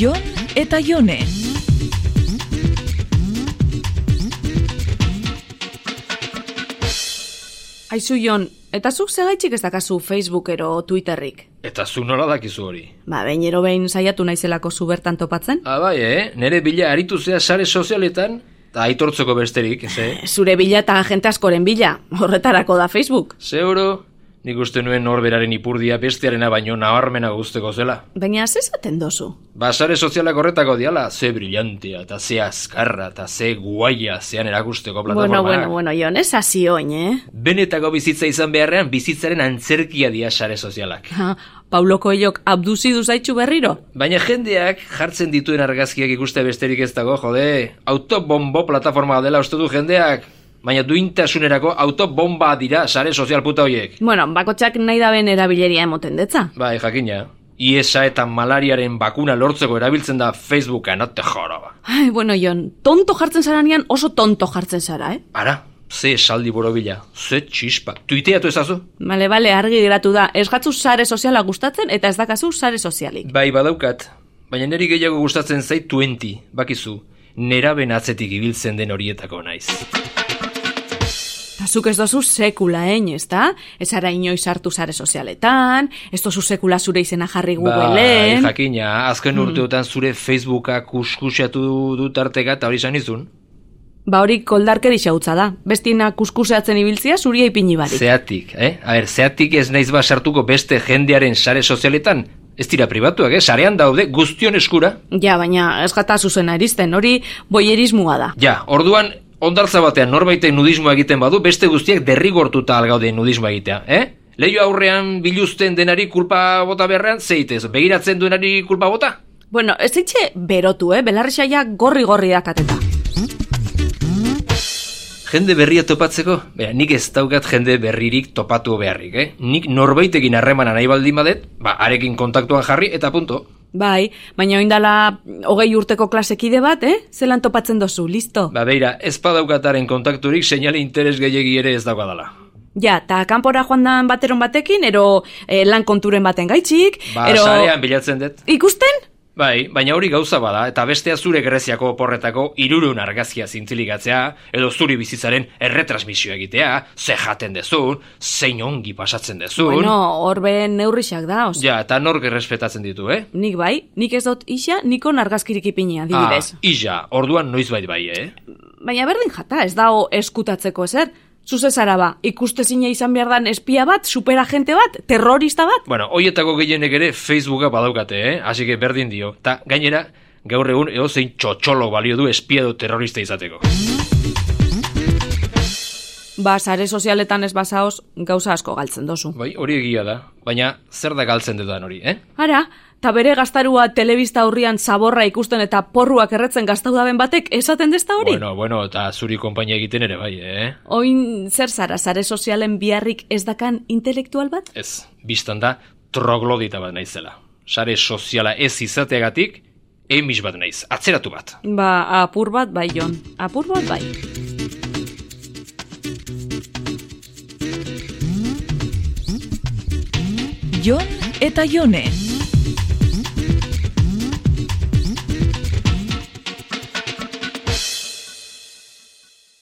Jon eta Jone. Aizu Jon, eta zuk zelaitxik ez dakazu Facebookero Twitterrik. Eta zu nola dakizu hori? Ba, behinero behin saiatu naizelako zu bertan topatzen. Ah, bai, eh? Nere bila aritu zea sare sozialetan, eta aitortzeko besterik, ez eh? Zure bila eta jente askoren bila, horretarako da Facebook. Zeuro, nik uste nuen norberaren ipurdia bestearena baino nabarmena guzteko zela. Baina ze zaten dozu? Ba, sare sozialak horretako diala, ze brillantea, eta ze azkarra, eta ze guaia zean erakusteko Bueno, plataforma. bueno, bueno, Jon, ez hasi oin, eh? Benetako bizitza izan beharrean bizitzaren antzerkia dia sare sozialak. Ha, Pauloko elok abduzidu zaitxu berriro? Baina jendeak jartzen dituen argazkiak ikuste besterik ez dago, jode. Autobombo plataforma dela uste du jendeak. Baina duintasunerako autobomba dira sare sozial puta hoiek. Bueno, bakotxak nahi daben erabileria emoten detza. Bai, jakina. Iesa eta malariaren bakuna lortzeko erabiltzen da Facebooka, no te joroba. Ai, bueno, Jon, tonto jartzen zaranean oso tonto jartzen zara, eh? Ara, ze esaldi borobila, ze txispa. Tuiteatu ezazu? Bale, bale, argi geratu da, ez gatzu sare soziala gustatzen eta ez dakazu sare sozialik. Bai, badaukat. Baina neri gehiago gustatzen zait 20, bakizu. Neraben atzetik ibiltzen den horietako naiz. Ta zuk ez dozu sekula, hein, ez da? Ez ara inoiz hartu sare sozialetan, ez dozu sekula zure izena jarri Bai, Googleen. jakina, azken urteotan zure Facebooka kuskusatu du tarteka eta hori izan izun. Ba hori koldarkeri xautza da, bestiena kuskuseatzen ibiltzia zuria ipini barik. Zeatik, eh? A ber, zeatik ez naiz bat sartuko beste jendearen sare sozialetan. Ez dira pribatuak, eh? Sarean daude guztion eskura. Ja, baina ez gata zuzena iristen, hori boierismoa da. Ja, orduan, ondartza batean norbaiten nudismoa egiten badu, beste guztiak derrigortuta algaude nudismoa egitea, eh? Leio aurrean biluzten denari kulpa bota beharrean, zeitez, begiratzen duenari kulpa bota? Bueno, ez itxe berotu, eh? Belarri saia gorri-gorri dakateta. Jende berria topatzeko? Bera, nik ez daukat jende berririk topatu beharrik, eh? Nik norbaitekin harremana nahi baldin badet, ba, arekin kontaktuan jarri eta punto. Bai, baina oindala hogei urteko klasekide bat, eh? Zelan topatzen dozu, listo. Ba, beira, ez badaukataren kontakturik seinale interes gehiegi ere ez daukadala. Ja, eta kanpora joan dan bateron batekin, ero eh, lan konturen baten gaitxik, Ba, ero... sarean bilatzen dut. Ikusten? Bai, baina hori gauza bada, eta bestea zure Greziako porretako irurun argazkia zintziligatzea, edo zuri bizitzaren erretransmisioa egitea, ze jaten dezun, zein ongi pasatzen dezun. Bueno, horben neurrixak da, oz. Ja, eta nork errespetatzen ditu, eh? Nik bai, nik ez dut isa, nikon argazkirik ipinia, adibidez. Ah, illa, orduan noizbait bai, eh? Baina berdin jata, ez dao eskutatzeko ezer. Zuze zara ba, ikustezina izan behar dan espia bat, superagente bat, terrorista bat. Bueno, hoietako gehienek ere Facebooka badaukate, eh? Asi que berdin dio. Ta gainera, gaur egun edozein txotxolo balio du espia edo terrorista izateko. Ba, sare sozialetan ez bazaoz, gauza asko galtzen dozu. Bai, hori egia da. Baina zer da galtzen dudan hori, eh? Ara, ta bere gaztarua telebista aurrian zaborra ikusten eta porruak erretzen gaztau daben batek esaten dezta hori? Bueno, bueno, eta zuri konpainia egiten ere bai, eh? Oin zer zara, sare sozialen biharrik ez dakan intelektual bat? Ez, biztan da, troglodita bat naizela. Sare soziala ez izateagatik, emis bat naiz, atzeratu bat. Ba, apur bat bai, Jon. Apur bat bai. Jon eta Jone.